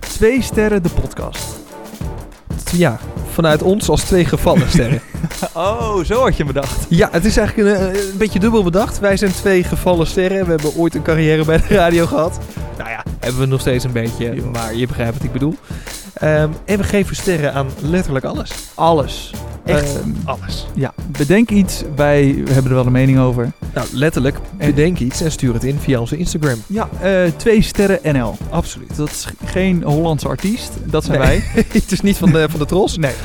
Twee sterren de podcast. Ja, vanuit ons als twee gevallen sterren. Oh, zo had je hem bedacht. ja, het is eigenlijk een, eh, een beetje dubbel bedacht. Wij zijn twee gevallen sterren. We hebben ooit een carrière bij de radio gehad. Nou ja, hebben we nog steeds een beetje, Ja. maar je begrijpt wat ik bedoel. Ehm, en we geven sterren aan letterlijk alles. Alles. Echt Ehm, alles. ja, Bedenk iets, wij hebben er wel een mening over. nou letterlijk. Bedenk iets en stuur het in via onze Instagram. Ja, eh, twee sterren NL. Absoluut. Dat is geen Hollandse artiest, dat zijn Nee. wij. het is niet van de, van de tros. Nee.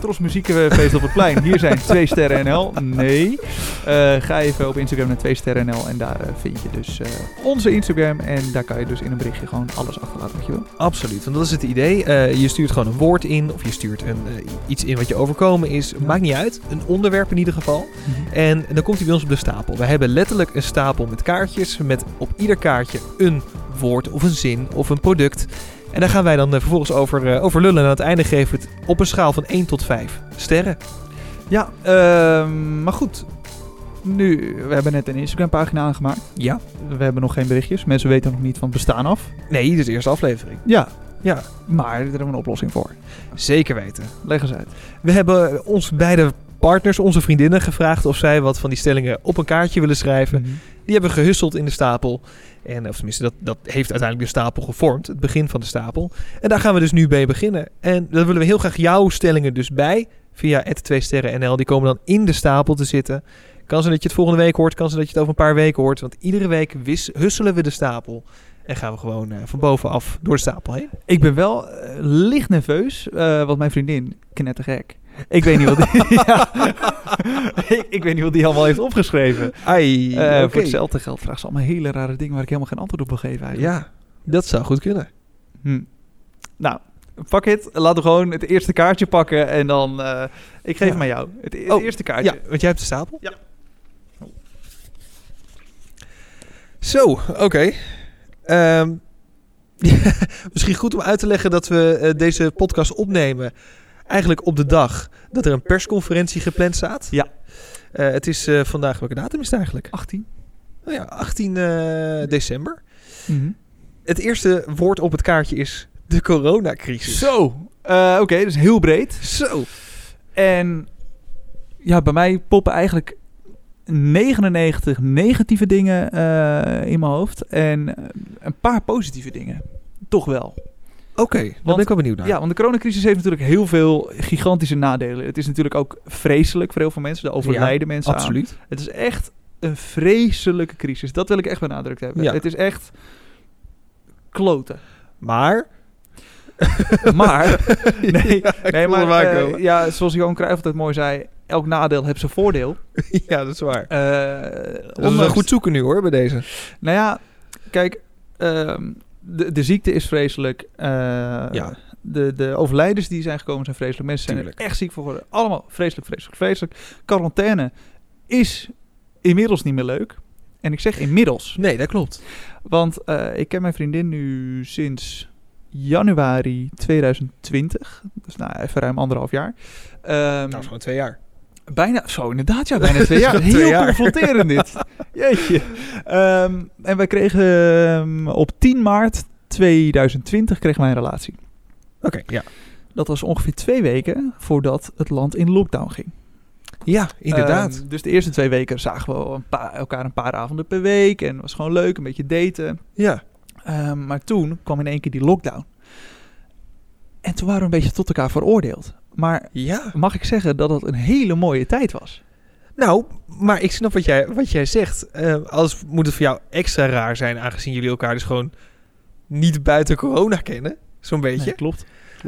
Tros Muziekenfeest op het plein. Hier zijn 2 sterren NL. Nee. Eh, ga even op Instagram naar 2 sterren NL en daar eh, vind je dus eh, onze Instagram. En daar kan je dus in een berichtje gewoon alles achterlaten wat je wil. Absoluut, want dat is het idee. Eh, je stuurt gewoon een woord in of je stuurt een, eh, iets in wat je overkomen is. Maakt niet uit, een onderwerp in ieder geval. Mhm. En dan komt hij bij ons op de stapel. We hebben letterlijk een stapel met kaartjes met op ieder kaartje een woord of een zin of een product. En daar gaan wij dan eh, vervolgens over, eh, over lullen. En aan het einde geven we het op een schaal van 1 tot 5 sterren. Ja, ehm, maar goed. Nu, we hebben net een Instagram pagina aangemaakt. Ja. We hebben nog geen berichtjes. Mensen weten nog niet van het bestaan af. Nee, dit is de eerste aflevering. Ja, Ja, maar er hebben we een oplossing voor. zeker weten. Leg eens uit. We hebben onze beide partners, onze vriendinnen, gevraagd of zij wat van die stellingen op een kaartje willen schrijven. Die hebben gehusseld in de stapel. En, of tenminste, dat, dat heeft uiteindelijk de stapel gevormd. Het begin van de stapel. En daar gaan we dus nu mee beginnen. En daar willen we heel graag jouw stellingen dus bij. Via 2 sterren NL. Die komen dan in de stapel te zitten. Kan zijn dat je het volgende week hoort. Kan zijn dat je het over een paar weken hoort. Want iedere week wis, husselen we de stapel. En gaan we gewoon eh, van bovenaf door de stapel heen. Ik ben wel eh, licht nerveus, eh want mijn vriendin, knettergek. Ik weet niet wat die, ja. ik, ik weet niet wat die allemaal heeft opgeschreven. Ai, Eh, Voor hetzelfde geld vraagt ze allemaal hele rare dingen waar ik helemaal geen antwoord op wil geven eigenlijk. Ja, dat zou goed kunnen. Hm. Nou, fuck it. Laten we gewoon het eerste kaartje pakken en dan... eh, ik geef Ja. hem aan jou. Het, e- Oh, eerste kaartje. Ja, want jij hebt de stapel? Ja. Zo, oké. Ehm, ja, misschien goed om uit te leggen dat we eh, deze podcast opnemen. Eigenlijk op de dag dat er een persconferentie gepland staat. Ja. Eh, het is eh, vandaag, welke datum is het eigenlijk? 18. Oh ja, 18 eh, december. Mhm. Het eerste woord op het kaartje is de coronacrisis. Zo. Eh, Oké, dus heel breed. Zo. En ja, bij mij poppen eigenlijk 99 negatieve dingen eh, in mijn hoofd. En eh, een paar positieve dingen. Toch wel. Oké, dan Want- ben ik wel benieuwd naar. Ja, want de coronacrisis heeft natuurlijk heel veel gigantische nadelen. Het is natuurlijk ook vreselijk voor heel veel mensen. Er overlijden mensen aan. absoluut. Het is echt een vreselijke crisis. Dat wil ik echt benadrukt hebben. Ja. Het is echt kloten. Maar Maar, nee, nee, voel maar hem aankomen. eh, ja, zoals Johan Cruijff altijd mooi zei, elk nadeel heeft zijn voordeel. ja, dat is waar. Eh, Dat is wel ondanks- goed zoeken nu hoor, bij deze. Nou ja, kijk, ehm, de, de ziekte is vreselijk. Eh, Ja. de, de overlijdens die zijn gekomen zijn vreselijk. Mensen zijn Tuurlijk. er echt ziek voor geworden. Allemaal vreselijk, vreselijk, vreselijk. Quarantaine is inmiddels niet meer leuk. En ik zeg inmiddels, Nee, dat klopt. want eh, ik ken mijn vriendin nu sinds januari 2020. Dus nou, even ruim anderhalf jaar. Ehm, Nou, gewoon twee jaar. Bijna, zo inderdaad, ja, bijna twee Ja, jaar. twee Heel jaar. confronterend dit. Jeetje. Ehm, en wij kregen ehm, op 10 maart 2020 kregen wij een relatie. Oké, ja. Dat was ongeveer twee weken voordat het land in lockdown ging. Ja, inderdaad. Ehm, dus de eerste twee weken zagen we wel een paar, elkaar een paar avonden per week. En het was gewoon leuk, een beetje daten. ja. Ehm, maar toen kwam in één keer die lockdown. En toen waren we een beetje tot elkaar veroordeeld. Maar Ja. mag ik zeggen dat het een hele mooie tijd was? Nou, maar ik snap wat jij, wat jij zegt. Eh alles moet het voor jou extra raar zijn, aangezien jullie elkaar dus gewoon niet buiten corona kennen. Zo'n beetje. Nee, klopt.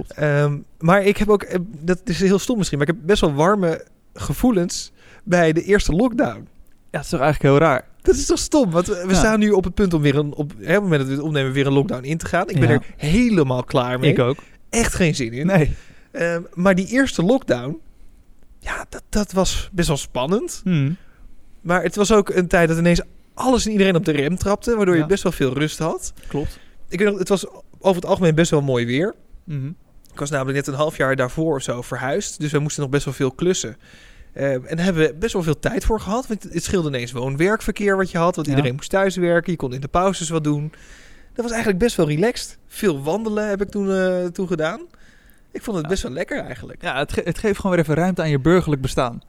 Ehm, maar ik heb ook, eh, dat is heel stom misschien, maar ik heb best wel warme gevoelens bij de eerste lockdown. Ja, dat is toch eigenlijk heel raar. Dat is toch stom? Want we we Ja. staan nu op het punt om weer een, op, hè, op het moment dat we het opnemen, weer een lockdown in te gaan. Ik ben Ja. er helemaal klaar mee. ook. Echt geen zin in. Nee. Ehm, maar die eerste lockdown, ja, dat, dat was best wel spannend. Hmm. Maar het was ook een tijd dat ineens alles en iedereen op de rem trapte, waardoor je Ja. best wel veel rust had. Klopt. Ik weet nog, het was over het algemeen best wel mooi weer. Hmm. Ik was namelijk net een half jaar daarvoor of zo verhuisd, dus we moesten nog best wel veel klussen. Ehm, en daar hebben we best wel veel tijd voor gehad, want het scheelde ineens woon-werkverkeer wat je had, want Ja. iedereen moest thuiswerken, je kon in de pauzes wat doen. Dat was eigenlijk best wel relaxed. Veel wandelen heb ik toen, eh, toen gedaan. Ik vond het Ja. best wel lekker eigenlijk. Ja, het, ge- het geeft gewoon weer even ruimte aan je burgerlijk bestaan.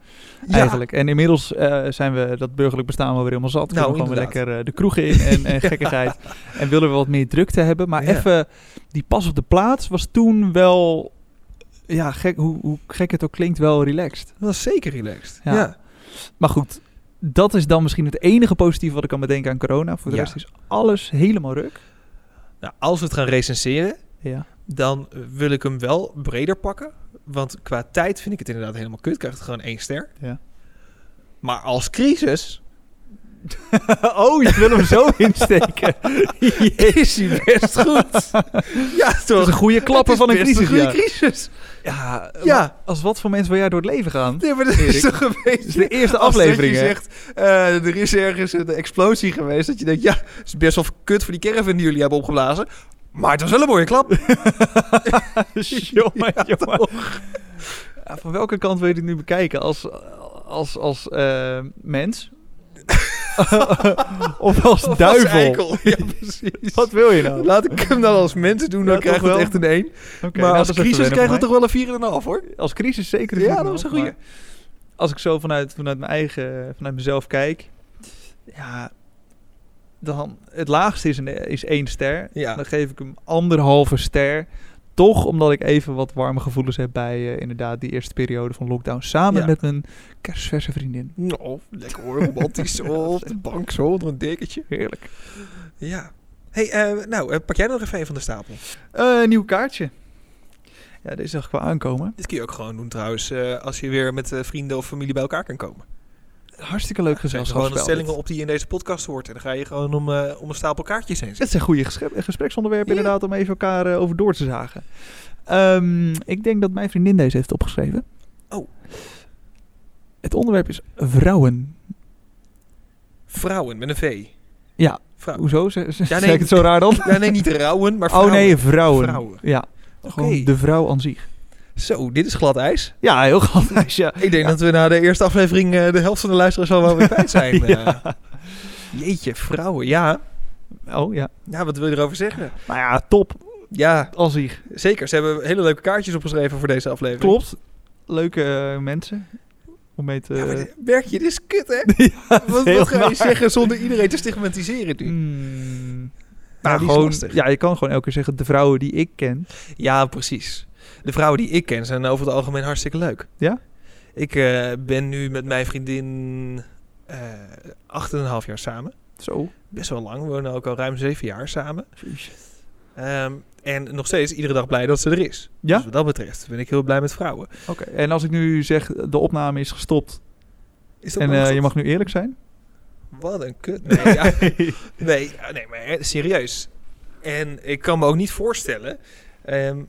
Eigenlijk. En inmiddels eh, zijn we dat burgerlijk bestaan wel weer helemaal zat. Kunnen Nou, we gewoon weer inderdaad. lekker eh, de kroeg in en, en gekkigheid. En willen we wat meer drukte hebben. Maar Ja. even, die pas op de plaats was toen wel, ja, gek, hoe, hoe gek het ook klinkt, wel relaxed. Dat was zeker relaxed. Ja. Ja. Maar goed, dat is dan misschien het enige positieve wat ik kan bedenken aan corona. Voor de Ja. rest is alles helemaal ruk. Nou, als we het gaan recenseren, Ja. dan eh, wil ik hem wel breder pakken. Want qua tijd vind ik het inderdaad helemaal kut. Krijgt het gewoon één ster. Ja. Maar als crisis oh, je wil hem zo insteken. is hij best goed. ja, Dat is toch? een goede klapper Het is van een best crisis. goede Ja, crisis. ja, Ja. maar als wat voor mensen wil jij door het leven gaan? Nee, maar dat Erik, is toch een Dat is beetje... de eerste Als dat je aflevering, hè? zegt, eh, er is ergens een explosie geweest. Dat je denkt, ja, het is best wel kut voor die caravan die jullie hebben opgeblazen. Maar het was wel een mooie klap. jongen, jongen. Ja, van welke kant wil je dit nu bekijken? Als, als, als eh, mens? of als Of als duivel? eikel. Ja, precies. Wat wil je nou? Laat ik hem dan als mensen doen, Ja, dan toch krijgen we het wel. echt een 1. Oké, maar als nou, dat is even crisis wennen krijgen we voor toch wel een 4,5 hoor. mij. Als crisis zeker. Ja, niet, dat was een maar goeie. Als ik zo vanuit, vanuit, mijn eigen, vanuit mezelf kijk... Ja, dan, het laagste is, een, is één ster. Ja. Dan geef ik hem anderhalve ster. Toch omdat ik even wat warme gevoelens heb bij eh, inderdaad die eerste periode van lockdown. Samen Ja. met mijn kerstverse vriendin. Nou, lekker hoor, romantisch zo, op de bank zo, onder een dekentje. Heerlijk. Ja. hey, eh, nou, eh, pak jij nog even een van de stapel. Eh, nieuw kaartje. Ja, deze zag ik wel aankomen. Dit kun je ook gewoon doen trouwens, eh, als je weer met eh, vrienden of familie bij elkaar kan komen. Hartstikke leuk Er zijn gezelschap. gewoon de stellingen op die in deze podcast hoort. En dan ga je gewoon om, eh, om een stapel kaartjes heen zitten. Het zijn goede gesche- gespreksonderwerpen Ja. inderdaad om even elkaar eh, over door te zagen. Ehm, ik denk dat mijn vriendin deze heeft opgeschreven. Oh. Het onderwerp is vrouwen. Vrouwen met een V. Ja. Vrouwen. Hoezo? Ze, ze, nee. zeg ik het zo raar dan? Ja, nee, niet rouwen, maar Oh vrouwen. nee, vrouwen. Vrouwen. Ja, Oké. gewoon de vrouw aan zich. Zo, dit is glad ijs. Ja, heel gaaf. Ja. Ik denk dat we na de eerste aflevering eh, de helft van de luisteraars al wel weer kwijt zijn. eh. Jeetje, vrouwen. Ja. Oh ja. ja, wat wil je erover zeggen? Nou ja, top Ja, aan zich. zeker. Ze hebben hele leuke kaartjes opgeschreven voor deze aflevering. Klopt. Leuke eh, mensen. Om mee te... Ja, maar dit- merk je, dit is kut, hè? wat heel wat ga je naar. zeggen zonder iedereen te stigmatiseren nu? Mm. Nou, Nou, die is gewoon, lastig. ja, je kan gewoon elke keer zeggen de vrouwen die ik ken. Ja, precies. De vrouwen die ik ken zijn over het algemeen hartstikke leuk. Ja? Ik eh, ben nu met mijn vriendin eh, acht en een half jaar samen. Zo. Best wel lang. We wonen ook al ruim zeven jaar samen. Ehm, en nog steeds iedere dag blij dat ze er is. Ja? Dus wat dat betreft ben ik heel blij met vrouwen. Oké. En als ik nu zeg de opname is gestopt Is dat en nou eh, goed? je mag nu eerlijk zijn. Wat een kut. Nee, ja. nee, ja, nee, maar hè, serieus. En ik kan me ook niet voorstellen ehm,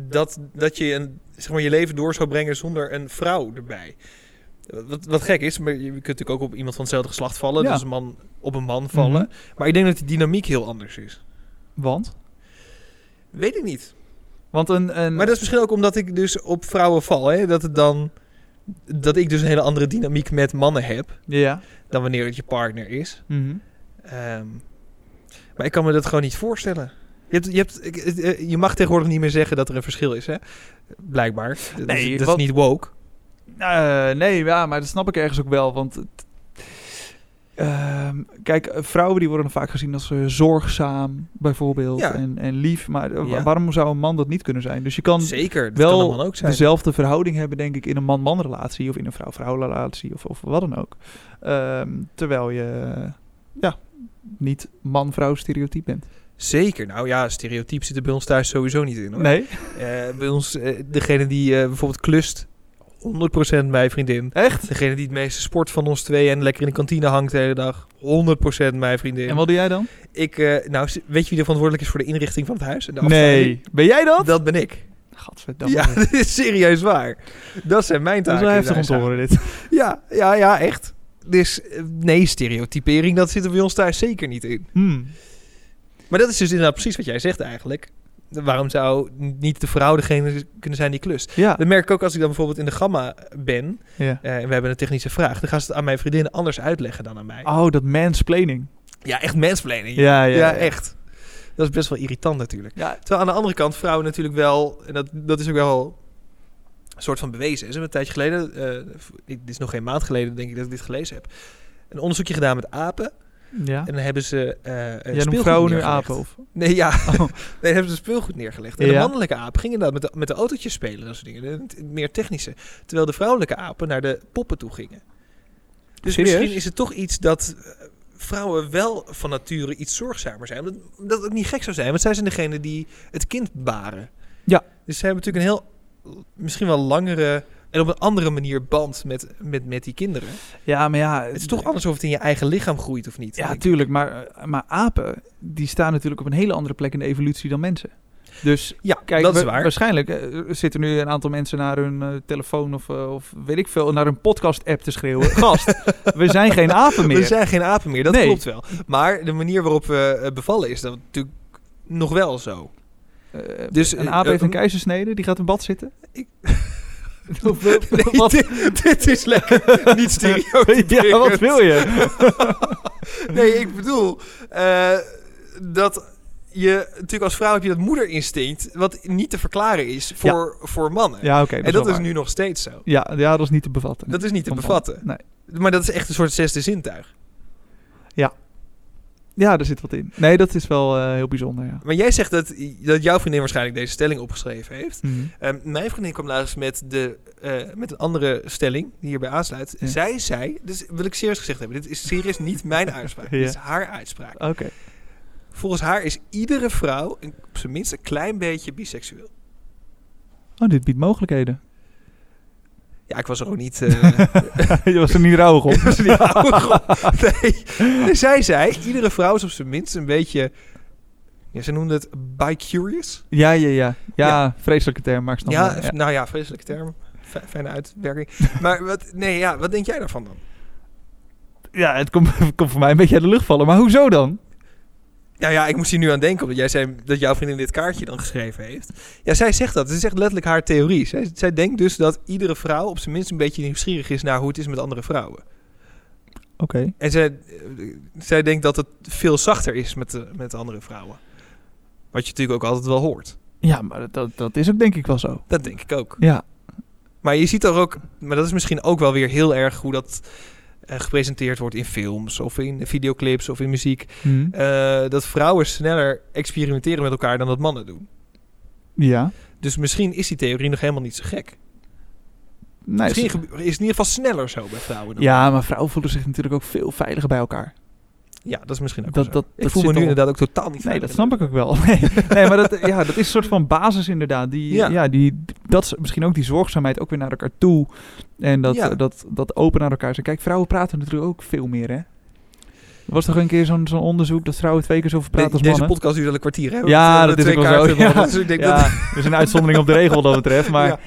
dat, dat je een, zeg maar, je leven door zou brengen zonder een vrouw erbij. Wat, wat gek is, maar je kunt natuurlijk ook op iemand van hetzelfde geslacht vallen. Ja. Mhm. Dus een man op een man vallen. Maar ik denk dat die dynamiek heel anders is. Want? Weet ik niet. Want een... een Maar dat is misschien ook omdat ik dus op vrouwen val. Hè? Dat, het dan, dat ik dus een hele andere dynamiek met mannen heb Ja. dan wanneer het je partner is. Mhm. Ehm, maar ik kan me dat gewoon niet voorstellen. Je, hebt, je, hebt, ik- het, eh, je mag tegenwoordig niet meer zeggen dat er een verschil is, hè? Blijkbaar. Dat, Nee, is, dat wat- is niet woke. Eh, nee, ja, maar dat snap ik ergens ook wel. Want het- ehm, kijk, eh, vrouwen die worden vaak gezien als eh, zorgzaam, bijvoorbeeld, Ja. en, en lief. Maar eh, wa- Ja. waarom zou een man dat niet kunnen zijn? Dus je kan Zeker, dat wel dus- kan een man ook zijn. dezelfde verhouding hebben, denk ik, in een man-man relatie of in een vrouw-vrouw relatie of, of wat dan ook. Ehm, terwijl je eh, ja, niet man-vrouw stereotyp bent. Zeker. Nou ja, stereotypen zitten bij ons thuis sowieso niet in, hoor. Nee, Eh, bij ons, eh, degene die eh, bijvoorbeeld klust, 100% mijn vriendin. echt? Degene die het meeste sport van ons twee en lekker in de kantine hangt de hele dag. 100% mijn vriendin. En wat doe jij dan? Ik, eh, nou, weet je wie er verantwoordelijk is voor de inrichting van het huis? En de Nee. Ben jij dat? afdeling? Dat ben ik. Gadverdamme. ja, dit is serieus waar. Dat zijn mijn dat is taken. wel in heftig om huis te horen, dit. houden. Ja, ja, ja, echt. Dus eh, nee, stereotypering, dat zit er bij ons thuis zeker niet in. Hmm. Maar dat is dus inderdaad precies wat jij zegt eigenlijk. Waarom zou niet de vrouw degene kunnen zijn die klust? Ja. Dat merk ik ook als ik dan bijvoorbeeld in de gamma ben. ja. eh, en we hebben een technische vraag. Dan gaan ze het aan mijn vriendinnen Ah. anders uitleggen dan aan mij. Oh, dat mansplaining. Ja, echt mansplaining. Ja, ja, Ja, ja. echt. Dat is best wel irritant natuurlijk. Ja, Terwijl aan de andere kant vrouwen natuurlijk wel, en dat, dat is ook wel een soort van bewezen. Is een tijdje geleden, eh, v- dit is nog geen maand geleden denk ik dat ik dit gelezen heb, een onderzoekje gedaan met apen. ja. En dan hebben ze eh een Jij noemt speelgoed vrouwen nu neergelegd. apen of? Nee, ja. Nee, daar hebben ze speelgoed neergelegd. En de Oh. Ja. mannelijke aap ging inderdaad met de, met de autootjes spelen, dat soort dingen. De- het meer technische. Terwijl de vrouwelijke apen naar de poppen toe gingen. Dus Serieus? misschien is het toch iets dat eh, vrouwen wel van nature iets zorgzamer zijn. Dat, dat ook niet gek zou zijn, want zij zijn degene die het kind baren. Ja. Dus zij hebben natuurlijk een heel, misschien wel langere en op een andere manier band met, met, met die kinderen. Ja, maar ja... Het is toch anders of het in je eigen lichaam groeit of niet. Ja, denk ik. tuurlijk. Maar, eh, maar apen, die staan natuurlijk op een hele andere plek in de evolutie dan mensen. Dus ja kijk, dat is wa- waar. waarschijnlijk eh, zitten nu een aantal mensen naar hun eh, telefoon of, eh, of weet ik veel, naar hun podcast-app te schreeuwen. Gast, we zijn geen apen meer. We zijn geen apen meer, dat Nee. klopt wel. Maar de manier waarop we eh, bevallen is dat natuurlijk nog wel zo. Eh, Dus, een eh, aap eh, heeft een eh, keizersnede, die gaat in bad zitten. Ik- Of, eh, Nee, wat- dit, dit is lekker niet stereotyperend. ja, wat wil je? Nee, ik bedoel eh, dat je natuurlijk als vrouw heb je dat moederinstinct wat niet te verklaren is voor, voor mannen. Ja, oké. en dat wel is waar. nu nog steeds zo. Ja, ja, dat is niet te bevatten. Dat is niet te Komt bevatten. wel. Maar dat is echt een soort zesde zintuig. Ja, daar zit wat in. Nee, dat is wel eh, heel bijzonder, ja. Maar jij zegt dat, dat jouw vriendin waarschijnlijk deze stelling opgeschreven heeft. Mhm. Ehm, mijn vriendin kwam laatst met, de, eh, met een andere stelling die hierbij aansluit. Ja. Zij zei, dus wil ik serieus gezegd hebben, dit is serieus niet mijn uitspraak, Ja. dit is haar uitspraak. Oké. Volgens haar is iedere vrouw een, op zijn minst een klein beetje biseksueel. Oh, dit biedt mogelijkheden. Ja, ik was er ook niet... eh, je was er niet rauwig op. ik was er niet ouder op. nee. Zij zei, iedere vrouw is op zijn minst een beetje... Ja, ze noemde het bi-curious. Ja, ja, ja. Ja, vreselijke term, maar ik snap Ja, hem. f- nou ja, vreselijke term. Fi- Fijne uitwerking. Maar wat, nee, ja, wat denk jij daarvan dan? Ja, het komt, komt voor mij een beetje uit de lucht vallen. Maar hoezo dan? Nou ja, ik moest hier nu aan denken, omdat jij zei dat jouw vriendin dit kaartje dan geschreven heeft. Ja, zij zegt dat. Het is echt letterlijk haar theorie. Zij, zij denkt dus dat iedere vrouw op zijn minst een beetje nieuwsgierig is naar hoe het is met andere vrouwen. Oké. En zij, eh, zij denkt dat het veel zachter is met, de- met andere vrouwen. Wat je natuurlijk ook altijd wel hoort. Ja, maar dat, dat is ook denk ik wel zo. Dat denk ik ook. Ja. Maar je ziet toch ook, maar dat is misschien ook wel weer heel erg hoe dat eh, gepresenteerd wordt in films of in videoclips of in muziek. Hm. Eh, dat vrouwen sneller experimenteren met elkaar dan dat mannen doen. Ja. Dus misschien is die theorie nog helemaal niet zo gek. Nee, misschien ze- gebe- is het in ieder geval sneller zo bij vrouwen. Dan ja, maar vrouwen voelen zich natuurlijk ook veel veiliger bij elkaar. ja, dat is misschien ook Dat- wel zo. dat- Ik dat voel me zit nu al- inderdaad ook totaal niet Nee, veilig. dat snap ik ook wel. Nee, nee maar dat, ja, dat is een soort van basis inderdaad. Die, ja. Ja. die, dat is misschien ook die zorgzaamheid ook weer naar elkaar toe. En dat, Ja. dat, dat open naar elkaar zijn. Kijk, vrouwen praten natuurlijk ook veel meer, hè? Er was toch een keer zo'n zo'n onderzoek dat vrouwen twee keer zoveel De- praten als deze mannen? podcast duurt al een kwartier, hè? Ja, Want, eh, dat de is twee ook wel zo. kaarten- Ja. dus ik denk ja, dat... er is een uitzondering op de regel wat dat betreft. Maar Ja.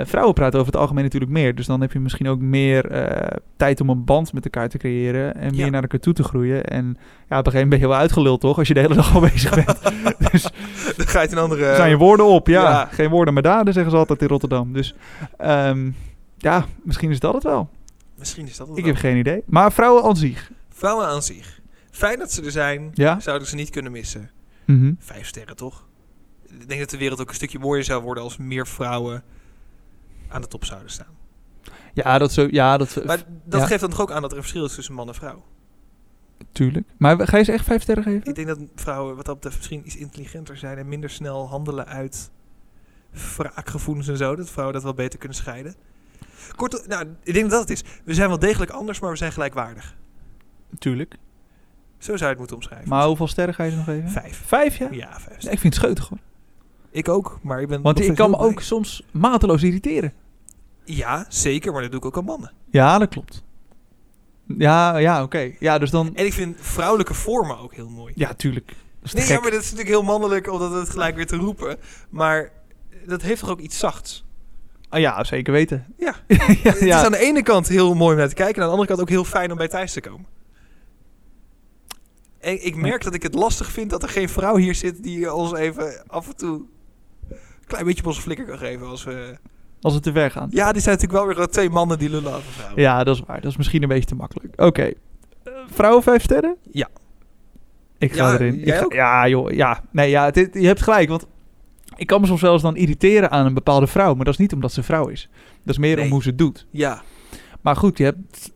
eh, vrouwen praten over het algemeen natuurlijk meer. Dus dan heb je misschien ook meer eh, tijd om een band met elkaar te creëren. En meer Ja. naar elkaar toe te groeien. En ja, op een gegeven moment ben je wel uitgeluld, toch? Als je de hele dag al bezig bent. dus Dan ga je het een andere... zijn je woorden op. Ja, Eh, ja. geen woorden maar daden, zeggen ze altijd in Rotterdam. Dus ehm, ja, misschien is dat het wel. Misschien is dat het Ik wel. heb geen idee. Maar vrouwen aan zich. Vrouwen aan zich. Fijn dat ze er zijn. Ja? Zouden ze niet kunnen missen. Mhm. Vijf sterren, toch? Ik denk dat de wereld ook een stukje mooier zou worden als meer vrouwen aan de top zouden staan. Ja, dat zo. Ja, dat. Maar dat ja. geeft dan toch ook aan dat er een verschil is tussen man en vrouw. tuurlijk. Maar ga je ze echt vijf sterren geven? Ik denk dat vrouwen wat dat betreft misschien iets intelligenter zijn en minder snel handelen uit wraakgevoelens en zo. Dat vrouwen dat wel beter kunnen scheiden. Kortom, nou, ik denk dat dat het is. We zijn wel degelijk anders, maar we zijn gelijkwaardig. Tuurlijk. Zo zou je het moeten omschrijven. Maar hoeveel sterren ga je ze nog geven? vijf. Vijf, ja? Ja, vijf. Ik vind het scheutig hoor. Ik ook, maar ik ben. nog Want ik steeds kan me heel ook blij. soms mateloos irriteren. Ja, zeker, maar dat doe ik ook aan mannen. Ja, dat klopt. Ja, ja, oké. Ja, dus dan... En ik vind vrouwelijke vormen ook heel mooi. Ja, tuurlijk. Dat is te Nee, gek. ja, maar dat is natuurlijk heel mannelijk om dat het gelijk weer te roepen. Maar dat heeft toch ook iets zachts? Ah, ja, zeker weten. Ja. ja, Het is ja. aan de ene kant heel mooi om naar te kijken... en aan de andere kant ook heel fijn om bij Thijs te komen. En ik merk dat ik het lastig vind dat er geen vrouw hier zit... die ons even af en toe een klein beetje op onze flikker kan geven. Als we... Als het te ver gaat. Ja, die zijn natuurlijk wel weer twee mannen die lullen over vrouwen. Ja, dat is waar. Dat is misschien een beetje te makkelijk. Oké. Eh, vrouwen vijf sterren? Ja. Ik ga Ja, erin. Ik jij ga- ook? Ja, joh. Ja. Nee, ja, het, het- je hebt gelijk. Want ik kan me soms zelfs dan irriteren aan een bepaalde vrouw. Maar dat is niet omdat ze vrouw is. Dat is meer om Nee. hoe ze het doet. Ja. Maar goed, je hebt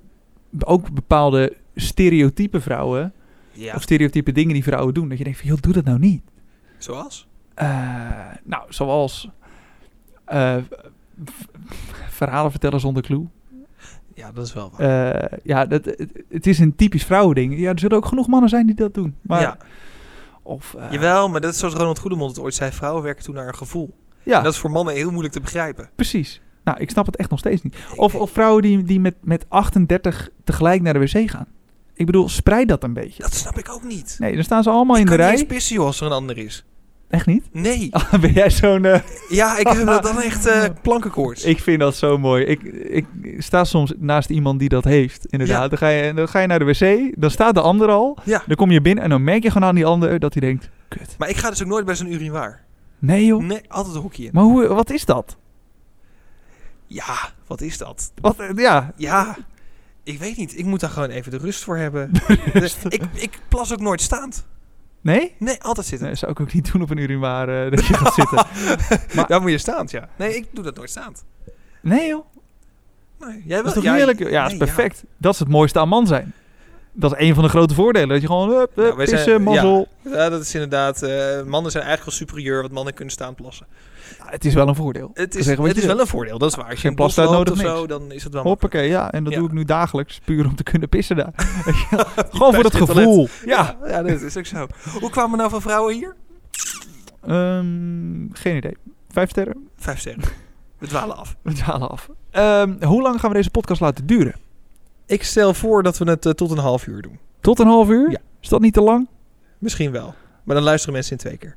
ook bepaalde stereotype vrouwen. ja. Of stereotype dingen die vrouwen doen. Dat je denkt van, joh, doe dat nou niet. Zoals? Eh, nou, zoals eh, v- verhalen vertellen zonder clue. Ja, dat is wel waar. Eh, ja, dat, het, het is een typisch vrouwending. Ja, er zullen ook genoeg mannen zijn die dat doen. Maar, ja. of, eh, Jawel, maar dat is zoals Ronald Goedemond het ooit zei. Vrouwen werken toen naar een gevoel. Ja, En dat is voor mannen heel moeilijk te begrijpen. precies. Nou, ik snap het echt nog steeds niet. Of, of vrouwen die, die met, met 38 tegelijk naar de wc gaan. Ik bedoel, spreid dat een beetje. Dat snap ik ook niet. Nee, dan staan ze allemaal in ik de kan rij. niet eens pissen, joh, als er een ander is. Echt niet? Nee. Ah, ben jij zo'n... eh, Ja, ik heb dat dan echt eh plankenkoorts. Ik vind dat zo mooi. Ik, ik sta soms naast iemand die dat heeft, inderdaad. Ja. Dan, ga je, dan ga je naar de wc, dan staat de ander al. Ja. Dan kom je binnen en dan merk je gewoon aan die ander dat hij denkt... Kut. Maar ik ga dus ook nooit bij zo'n urinoir. Nee joh. Nee, altijd een hoekje in. Maar hoe, wat is dat? Ja, wat is dat? Wat, eh, ja. Ja, ik weet niet. Ik moet daar gewoon even de rust voor hebben. ik, ik plas ook nooit staand. Nee? Nee, altijd zitten. Nee, zou ik ook niet doen op een urinoir eh, dat je gaat zitten. maar- Daar moet je staand, ja. Nee, ik doe dat nooit staand. Nee joh. Nee, jij Dat is wel? toch ja, heerlijk? joh? Ja, dat nee, is perfect. Dat is het mooiste aan man zijn. Dat is een van de grote voordelen. Dat je gewoon hup, Nou, hup, wij zijn- pissen, mazzel. Ja, dat is inderdaad. eh, mannen zijn eigenlijk wel superieur, want mannen kunnen staan plassen. Ja, het is wel een voordeel. Het Kan is, zeggen wat het je is wil. wel een voordeel, dat is waar. Als je Geen een bos plastijd loopt nodig, of zo, niks. dan is het wel. Hoppakee, ja. En dat Ja. doe ik nu dagelijks, puur om te kunnen pissen daar. Gewoon voor het Thuis met gevoel. Ja, Ja. ja, dat is ook zo. Hoe kwamen we nou van vrouwen hier? Ehm, geen idee. Vijf sterren? Vijf sterren. We dwalen af. We dwalen af. Ehm, hoe lang gaan we deze podcast laten duren? Ik stel voor dat we het eh, tot een half uur doen. Tot een half uur? Ja. Is dat niet te lang? Misschien wel. Maar dan luisteren mensen in twee keer.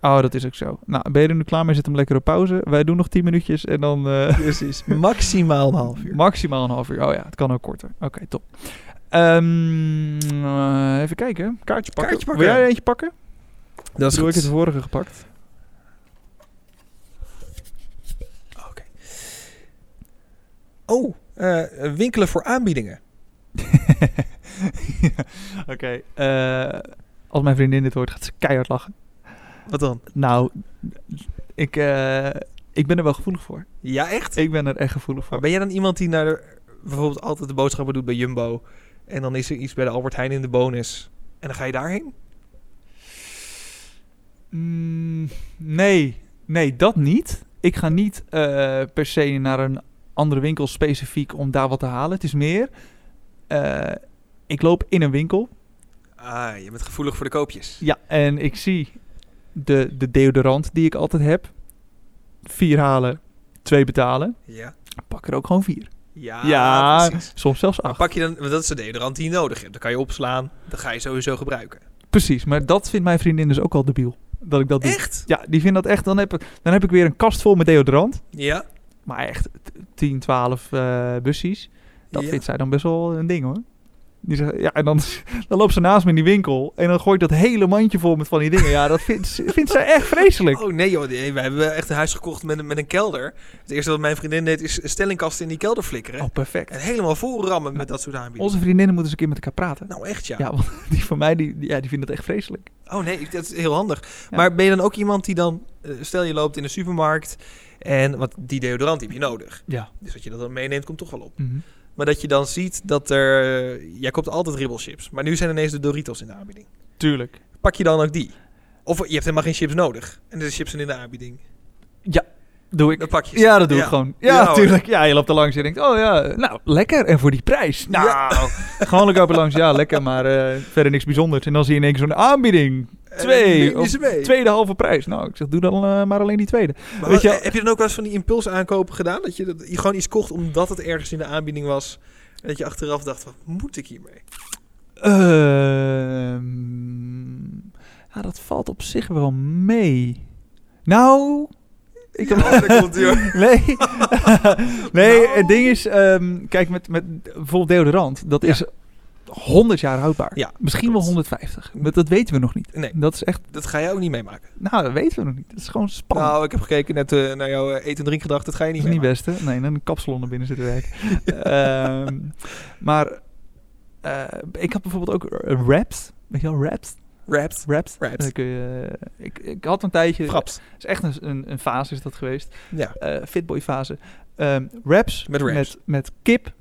Oh, dat is ook zo. Nou, ben je er nu klaar mee? Zet hem lekker op pauze. Wij doen nog tien minuutjes en dan eh, Precies. Maximaal een half uur. maximaal een half uur. Oh ja, het kan ook korter. Oké, top. Ehm, eh, even kijken. Kaartje pakken. Kaartje pakken. Wil jij er eentje pakken? Dat is Doe goed. ik het vorige gepakt. Oh, eh, winkelen voor aanbiedingen. Oké. eh, als mijn vriendin dit hoort, gaat ze keihard lachen. Wat dan? Nou, ik, eh, ik ben er wel gevoelig voor. Ja, echt? Ik ben er echt gevoelig Maar voor. ben jij dan iemand die naar de- bijvoorbeeld altijd de boodschappen doet bij Jumbo en dan is er iets bij de Albert Heijn in de bonus en dan ga je daarheen? Mm, nee, nee, dat niet. Ik ga niet eh, per se naar een andere winkel specifiek om daar wat te halen. Het is meer, eh, ik loop in een winkel. Ah, je bent gevoelig voor de koopjes. Ja, en ik zie de, de deodorant die ik altijd heb. Vier halen, twee betalen. Ja. Pak er ook gewoon vier. Ja, Ja. precies. Soms zelfs Maar acht. pak je dan, want dat is de deodorant die je nodig hebt. Dan kan je opslaan, dan ga je sowieso gebruiken. Precies, maar dat vindt mijn vriendin dus ook al debiel. Dat ik dat doe. Echt? Ja, die vindt dat echt. Dan heb, ik, dan heb ik weer een kast vol met deodorant. Ja. Maar echt t- 10, 12 eh bussies. Dat Ja. vindt zij dan best wel een ding hoor. Die zegt, ja, en dan, dan loopt ze naast me in die winkel. En dan gooi ik dat hele mandje vol met van die dingen. Ja, dat vindt, ze- vindt zij echt vreselijk. Oh nee joh, nee, wij hebben echt een huis gekocht met, een- met een kelder. Het eerste wat mijn vriendin deed is stellingkasten in die kelder flikkeren. Oh, perfect. En helemaal volrammen met dat soort aanbiedingen. Onze vriendinnen moeten eens een keer met elkaar praten. Nou echt ja. Ja, want die van mij, die, die- ja, die vindt dat echt vreselijk. Oh nee, ik- dat is heel handig. Ja. Maar ben je dan ook iemand die dan, eh, stel je loopt in de supermarkt en wat die deodorant heb je nodig. Ja. Dus dat je dat dan meeneemt komt toch wel op. Maar dat je dan ziet dat er, eh, jij koopt altijd ribbelchips, maar nu zijn ineens de Doritos in de aanbieding. Tuurlijk. Pak je dan ook die? Of je hebt helemaal geen chips nodig en de chips zijn in de aanbieding. Doe ik. Dan pak je ze. Ja, dat doe Ja. ik gewoon. Ja, Ja, hoor. tuurlijk. Ja, je loopt er langs en je denkt, oh ja, nou, lekker. En voor die prijs. Nou, Ja. Gewoon ik loop er langs, ja, lekker, maar eh, verder niks bijzonders. En dan zie je in één keer zo'n aanbieding. En Twee, neem je of ze mee. Tweede halve prijs. Nou, ik zeg, doe dan eh, maar alleen die tweede. Maar Weet je wat- eh, wel- heb je dan ook wel eens van die impuls aankopen gedaan? Dat je, dat je gewoon iets kocht omdat het ergens in de aanbieding was. En dat je achteraf dacht, wat moet ik hiermee? Ehm, ja, dat valt op zich wel mee. Nou... Ik heb- Ja, dat komt, joh. nee, nee Nou. het ding is, ehm, kijk, met, met bijvoorbeeld deodorant, dat Ja. is 100 jaar houdbaar. Ja, Misschien klopt. wel 150, maar dat weten we nog niet. Nee. Dat is echt, Dat ga jij ook niet meemaken. nou, dat weten we nog niet. Dat is gewoon spannend. Nou, ik heb gekeken net eh, naar jouw eh, eten en drink gedacht. Dat ga je niet Dat is meer. niet best, hè? Nee, dan een kapsalon naar binnen zitten werken. Ehm, maar eh, ik had bijvoorbeeld ook eh, wraps. Weet je wel, wraps? Wrapped. Wrapped. Wrapped. Dan kun je, eh, ik, ik had een tijdje... Fraps. is echt een, een, een fase is dat geweest. Ja. eh, Fitboy fase. Ehm wraps, Met wraps. Met, met kip.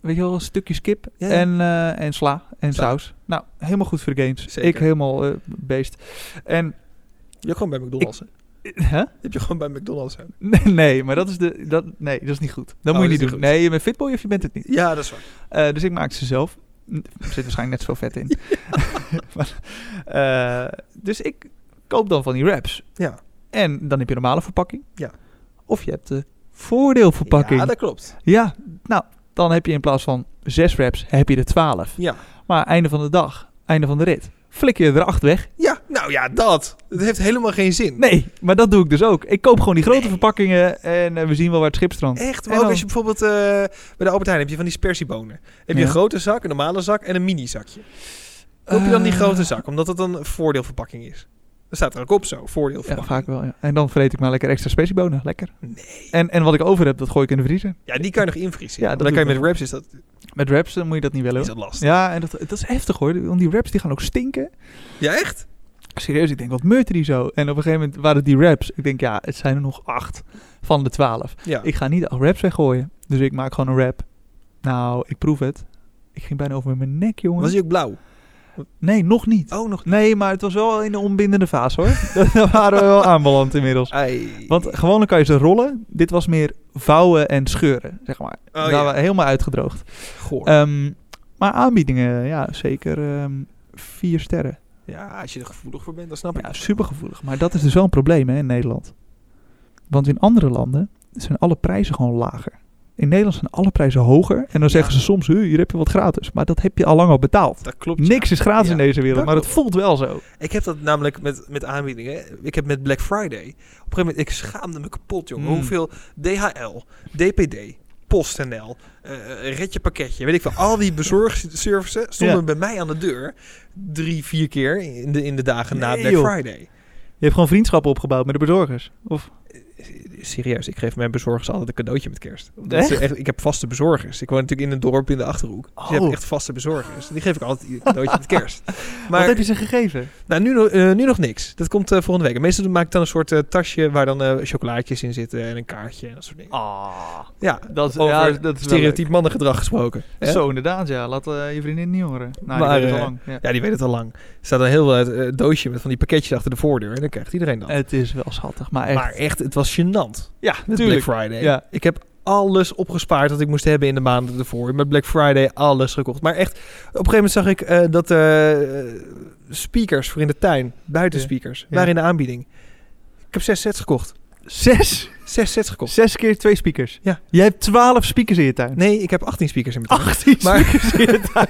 Weet je wel, stukjes kip. Ja. En, eh, en sla. En Sla. saus. Nou, helemaal goed voor de games. Zeker. Ik helemaal eh, beest. En... Je hebt gewoon bij McDonald's. hè? Hè? Je hebt je gewoon bij McDonald's. hè? Nee, nee, maar dat is de. Dat, nee, dat is niet goed. Dat Oh, dat is moet je niet doen. niet goed. Nee, je bent fitboy of je bent het niet. Ja, dat is waar. Eh, dus ik maakte ze zelf. Er zit waarschijnlijk net zoveel vet in. Maar, eh, dus ik koop dan van die wraps. Ja. En dan heb je normale verpakking. Ja. Of je hebt de voordeelverpakking. Ja, Ja, dat klopt. nou, dan heb je in plaats van zes wraps, heb je er twaalf. Ja. Maar einde van de dag, einde van de rit, flik je er acht weg. Ja, nou ja, dat. Het heeft helemaal geen zin. Nee, maar dat doe ik dus ook. Ik koop gewoon die grote Nee. verpakkingen en eh, we zien wel waar het schip strandt. Echt, En maar ook dan- als je bijvoorbeeld eh, bij de Albert Heijn heb je van die spersiebonen. Heb je Ja. een grote zak, een normale zak en een mini zakje. Koop je dan die Eh, grote zak, omdat het dan een voordeelverpakking is. Dat staat er ook op zo, Ja, voordeelverpakking. vaak wel, ja. En dan vreet ik maar lekker extra speciebonen. Lekker. Nee. En, en wat ik over heb, dat gooi ik in de vriezer. Ja, die kan je nog invriezen. Ja, Ja, dat dan kan doe je ik met wraps is dat, Met wraps dan moet je dat niet willen. is hoor. dat lastig. Ja. Ja, en dat, dat is heftig hoor. Want die wraps die gaan ook stinken. echt? Serieus, ik denk, wat meurt die zo? En op een gegeven moment waren het die wraps. Ik denk, ja, het zijn er nog acht van de twaalf. Ja. Ik ga niet de acht wraps weggooien. Dus ik maak gewoon een wrap. Nou, ik proef het. Ik ging bijna over mijn nek, jongen. Was die ook blauw? Nee, nog niet. Oh, nog Nee, maar het was wel in de onbindende fase hoor. Daar waren we wel aanbeland inmiddels. Ei. Want Nou, gewoonlijk kan je ze rollen. Dit was meer vouwen en scheuren, zeg maar. Oh, Daar ja. waren we helemaal uitgedroogd. Goor. Ehm, maar aanbiedingen, ja, zeker ehm, vier sterren. ja, als je er gevoelig voor bent, dan snap ik. Ja, supergevoelig. Oh, Maar dat is dus wel een probleem hè, in Nederland. Want in andere landen zijn alle prijzen gewoon lager. In Nederland zijn alle prijzen hoger. En dan zeggen ze soms, "Huh, hier heb je wat gratis. Maar dat heb je al lang al betaald. Dat klopt. ja. Niks is gratis Ja, in deze wereld, dat maar het voelt wel zo. Ik heb dat namelijk met, met aanbiedingen. Ik heb met Black Friday. Op een gegeven moment, ik schaamde me kapot, jongen. Mm. Hoeveel DHL, DPD, PostNL, eh Red Je Pakketje, weet ik veel. Al die bezorgservices stonden Ja. bij mij aan de deur. Drie, vier keer in de, in de dagen na Nee, Black joh. Friday. Je hebt gewoon vriendschappen opgebouwd met de bezorgers. Of, Serieus, ik geef mijn bezorgers altijd een cadeautje met kerst. Omdat Echt? ze echt, ik heb vaste bezorgers. Ik woon natuurlijk in een dorp in de Achterhoek. Dus je Oh. hebt echt vaste bezorgers. Die geef ik altijd een cadeautje met kerst. maar, wat heb je ze gegeven? Nou, nu, nog- eh, nu nog niks. Dat komt eh, volgende week. Meestal maak ik dan een soort eh, tasje waar dan eh, chocolaatjes in zitten en een kaartje en dat soort dingen. Ah, Ja, dat, over ja, dat is wel leuk. stereotyp mannengedrag gesproken. hè? Zo, inderdaad, ja. Laat eh, je vriendin niet horen. Nou, Maar, die weet het eh, al lang. Ja. Ja, die weet het al lang. Er staat een heel eh, eh, doosje met van die pakketjes achter de voordeur en dan krijgt iedereen dat. Het is wel schattig, maar Eh, echt. Maar echt, het was gênant ja, met tuurlijk. Black Friday. Ja. Ik heb alles opgespaard dat ik moest hebben in de maanden ervoor. Met Black Friday alles gekocht. Maar echt, op een gegeven moment zag ik eh, dat eh, eh, speakers voor in de tuin, buitenspeakers, Ja. waren in de aanbieding. Ik heb zes sets gekocht. Zes? Zes sets gekocht. Zes keer twee speakers. Ja. Jij hebt twaalf speakers in je tuin. Nee, ik heb 18 speakers in mijn tuin. 18 Maar- speakers in je tuin.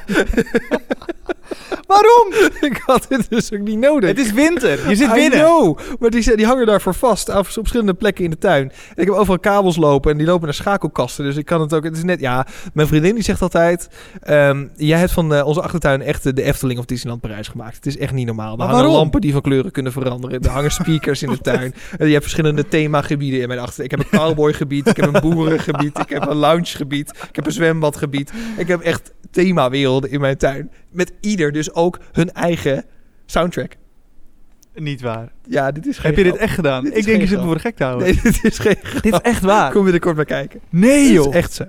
Waarom? ik had dit dus ook niet nodig. Het is winter. Je zit I binnen. know, maar die, zijn- die hangen daarvoor vast af, op verschillende plekken in de tuin. En ik heb overal kabels lopen en die lopen naar schakelkasten. Dus ik kan het ook. Het is net, ja, mijn vriendin die zegt altijd: ehm, Jij hebt van eh, onze achtertuin echt eh, de Efteling of Disneyland Parijs gemaakt. Het is echt niet normaal. Er Maar hangen waarom? lampen die van kleuren kunnen veranderen. Er hangen speakers in de tuin. En je hebt verschillende themagebieden in mijn achter. Ik heb een cowboygebied, ik heb een boerengebied, ik heb een loungegebied, ik heb een zwembadgebied. Ik heb echt themawerelden in mijn tuin. Met ieder dus ook hun eigen soundtrack. Niet waar. Ja, dit is geen Heb je dit grap. echt gedaan? Dit is ik denk je geen zit me grap. voor de gek te houden. Nee, dit is geen Dit is echt waar. Kom binnenkort maar kijken. Nee Dit joh. is echt zo.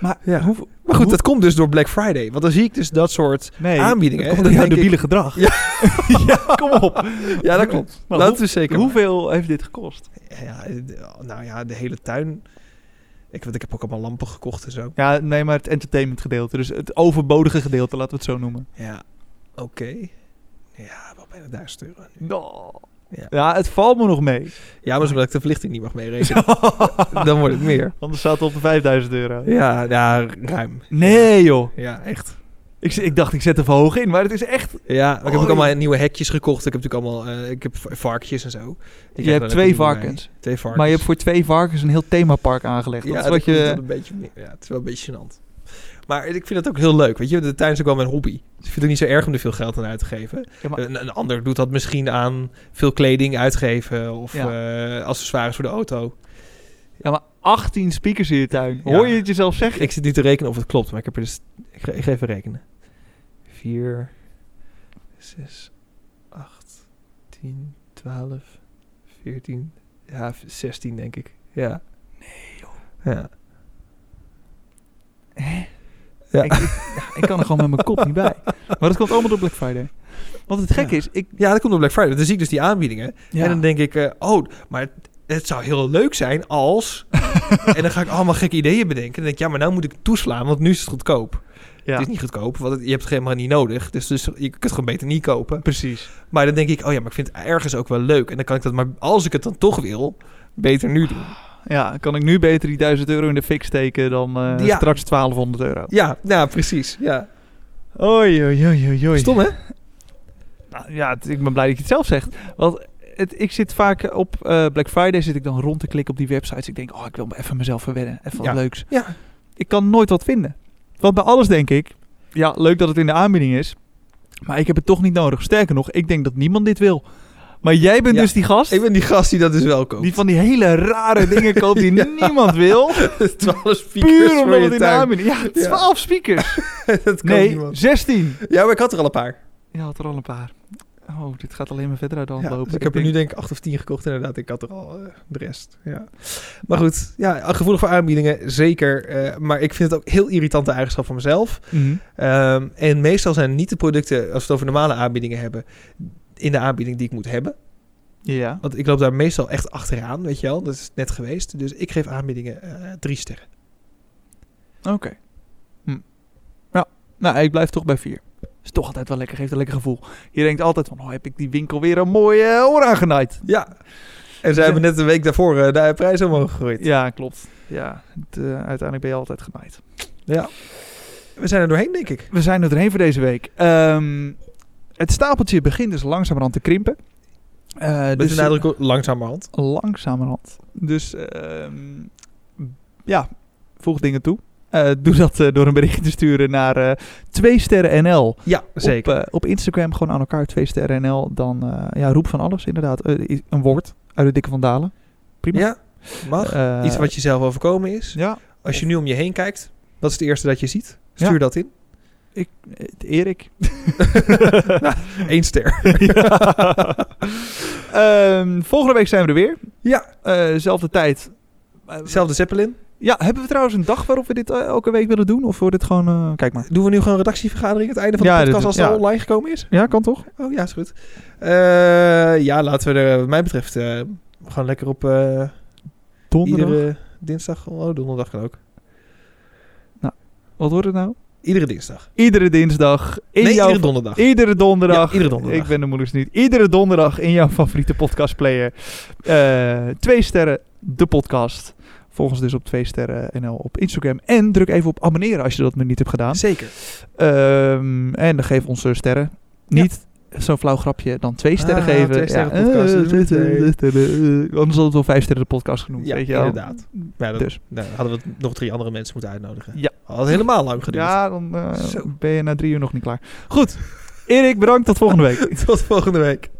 Maar, Ja. hoe, Maar goed, dat komt dus door Black Friday. Want dan zie ik dus dat soort... nee, aanbiedingen, dat hè? komt Dan door jouw denk ik- debiele gedrag. Ja. Ja, kom op. Ja, dat klopt. Maar dat hoe- is zeker. Hoeveel heeft dit gekost? Ja, d- nou ja, de hele tuin. Ik, want ik heb ook allemaal lampen gekocht en zo. Ja, nee, maar het entertainment gedeelte. Dus het overbodige gedeelte, laten we het zo noemen. Ja, oké. Ja, wel bijna duizend euro. nu. Ja. Ja. het valt me nog mee. Ja, maar dat is omdat ik de verlichting niet mag meerekenen. dan wordt het meer. Anders staat het op de 5000 euro. Ja, ja, ruim. Nee, joh. Ja, echt. Ik, z- ik dacht, ik zet er hoog in, maar het is echt... Ja, maar ik heb Oh, ook ja. allemaal nieuwe hekjes gekocht. Ik heb natuurlijk allemaal... eh, ik heb va- varkentjes en zo. Die krijg je dan hebt twee ook bij. varkens, Twee varkens. maar je hebt voor twee varkens een heel themapark aangelegd. dat is wat komt wel je... een beetje, meer- ja, het is wel een beetje gênant. Maar ik vind dat ook heel leuk. Weet je, de tuin is ook wel mijn hobby. Dus ik vind het ook niet zo erg om er veel geld aan uit te geven. Ja, maar- Een, een ander doet dat misschien aan veel kleding uitgeven of Ja. eh, accessoires voor de auto. Ja, maar 18 speakers in je tuin. Ja. Hoor je het jezelf zeggen? Ik zit nu te rekenen of het klopt, maar ik heb er dus. Ik, ge- ik ga even rekenen. 4, zes, acht, tien, twaalf, veertien, ja, v- zestien denk ik. Ja. Nee joh. Ja. Ja. Ik, ik, ja, ik kan er gewoon met mijn kop niet bij. Maar dat komt allemaal door Black Friday. Want het gekke Ja. is, ik... ja, dat komt op Black Friday. Dan zie ik dus die aanbiedingen. Ja, En dan denk ik, eh, oh, maar het, het zou heel leuk zijn als... en dan ga ik allemaal gekke ideeën bedenken. Dan denk ik, ja, maar nou moet ik toeslaan, want nu is het goedkoop. ja. Het is niet goedkoop, want het- je hebt het helemaal niet nodig. Dus, dus je kunt het gewoon beter niet kopen. precies. Maar dan denk ik, oh ja, maar ik vind het ergens ook wel leuk. En dan kan ik dat, maar als ik het dan toch wil, beter nu doen. Ja, kan ik nu beter die 1000 euro in de fik steken dan eh, Ja. straks 1200 euro. Ja, nou precies. Ja. Oei, oei, oei, oei, oei. Stom hè? Nou, ja, het- ik ben blij dat je het zelf zegt. Want het, ik zit vaak op eh, Black Friday zit ik dan rond te klikken op die websites. Ik denk, oh, ik wil me even mezelf verwennen. Even wat Ja. leuks. Ja. Ik kan nooit wat vinden. Want bij alles denk ik, ja, leuk dat het in de aanbieding is. Maar ik heb het toch niet nodig. Sterker nog, ik denk dat niemand dit wil. Maar jij bent Ja. dus die gast Ik ben die gast die dat dus wel koopt. die van die hele rare dingen koopt die niemand wil. 12 speakers Puur voor omdat het je in de tuin. aanbieding... Ja, 12 speakers. dat kan Nee, niemand. 16. Ja, maar ik had er al een paar. Je had er al een paar. Oh, dit gaat alleen maar verder uit de hand Ja, lopen. dus ik heb er denk- nu denk ik 8 of 10 gekocht inderdaad. Ik had er al eh, de rest. Ja. Maar goed, ja, gevoelig voor aanbiedingen, zeker. Eh, maar ik vind het ook heel irritante eigenschap van mezelf. Mhm. Ehm, en meestal zijn niet de producten, als we het over normale aanbiedingen hebben, in de aanbieding die ik moet hebben. Ja. Want ik loop daar meestal echt achteraan, weet je wel. Dat is net geweest. Dus ik geef aanbiedingen eh, drie sterren. Oké. Hm. Ja, nou, ik blijf toch bij vier. Is toch altijd wel lekker, geeft een lekker gevoel. Je denkt altijd van, oh, heb ik die winkel weer een mooie eh, oor aangenaaid. Ja. En zij hebben net een week daarvoor eh, de prijs omhoog gegooid. Ja, klopt. Ja, het, eh, uiteindelijk ben je altijd genaaid. Ja. We zijn er doorheen, denk ik. We zijn er doorheen voor deze week. Ehm, het stapeltje begint dus langzamerhand te krimpen. Eh, Met de nadruk op langzamerhand. langzamerhand. Dus ehm, ja, voeg dingen toe. Eh, doe dat eh, door een berichtje te sturen naar eh 2 sterren NL. Ja, zeker. Op, eh, op Instagram gewoon aan elkaar, 2 sterren NL. Dan eh, ja, roep van alles inderdaad. Eh, i- een woord uit de dikke vandalen. prima. Ja, mag. Eh, Iets wat je zelf overkomen is. Ja, Als je nu om je heen kijkt, wat is het eerste dat je ziet? Stuur Ja. dat in. ik, eh, Erik. Eén ster. Ehm, volgende week zijn we er weer. Ja, Eh, zelfde tijd. Eh, zelfde Zeppelin. Ja, hebben we trouwens een dag waarop we dit eh, elke week willen doen? Of wordt dit gewoon... eh, kijk maar. Doen we nu gewoon een redactievergadering aan het einde van Ja, de dit- podcast als het ja. al online gekomen is? Ja, kan toch? Oh ja, is goed. Eh, ja, laten we er wat mij betreft eh, gewoon lekker op eh, Donderdag. iedere dinsdag. Oh, donderdag kan ook. Wat wordt het nou? Iedere dinsdag. Iedere dinsdag. In nee, jouw iedere donderdag. Iedere donderdag. Ja, iedere donderdag. Ik ben de moeilijkste niet. Iedere donderdag in jouw favoriete podcastplayer. Eh twee sterren, de podcast. Volg ons dus op 2 sterren NL op Instagram. En druk even op abonneren als je dat nog niet hebt gedaan. Zeker. Ehm, en dan geef ons eh, sterren. Ja. Niet zo'n flauw grapje, dan twee sterren Ah, geven. twee sterren podcast, eh, dat doen we twee twee. sterren, eh, Anders hadden we wel vijf sterren de podcast genoemd. Ja, weet je wel. inderdaad. Ja, dan, Dus. nou, hadden we nog drie andere mensen moeten uitnodigen. Ja. Had helemaal lang geduurd. Ja, dan eh, Zo. ben je na drie uur nog niet klaar. Goed. Erik, bedankt. Tot volgende week. Tot volgende week.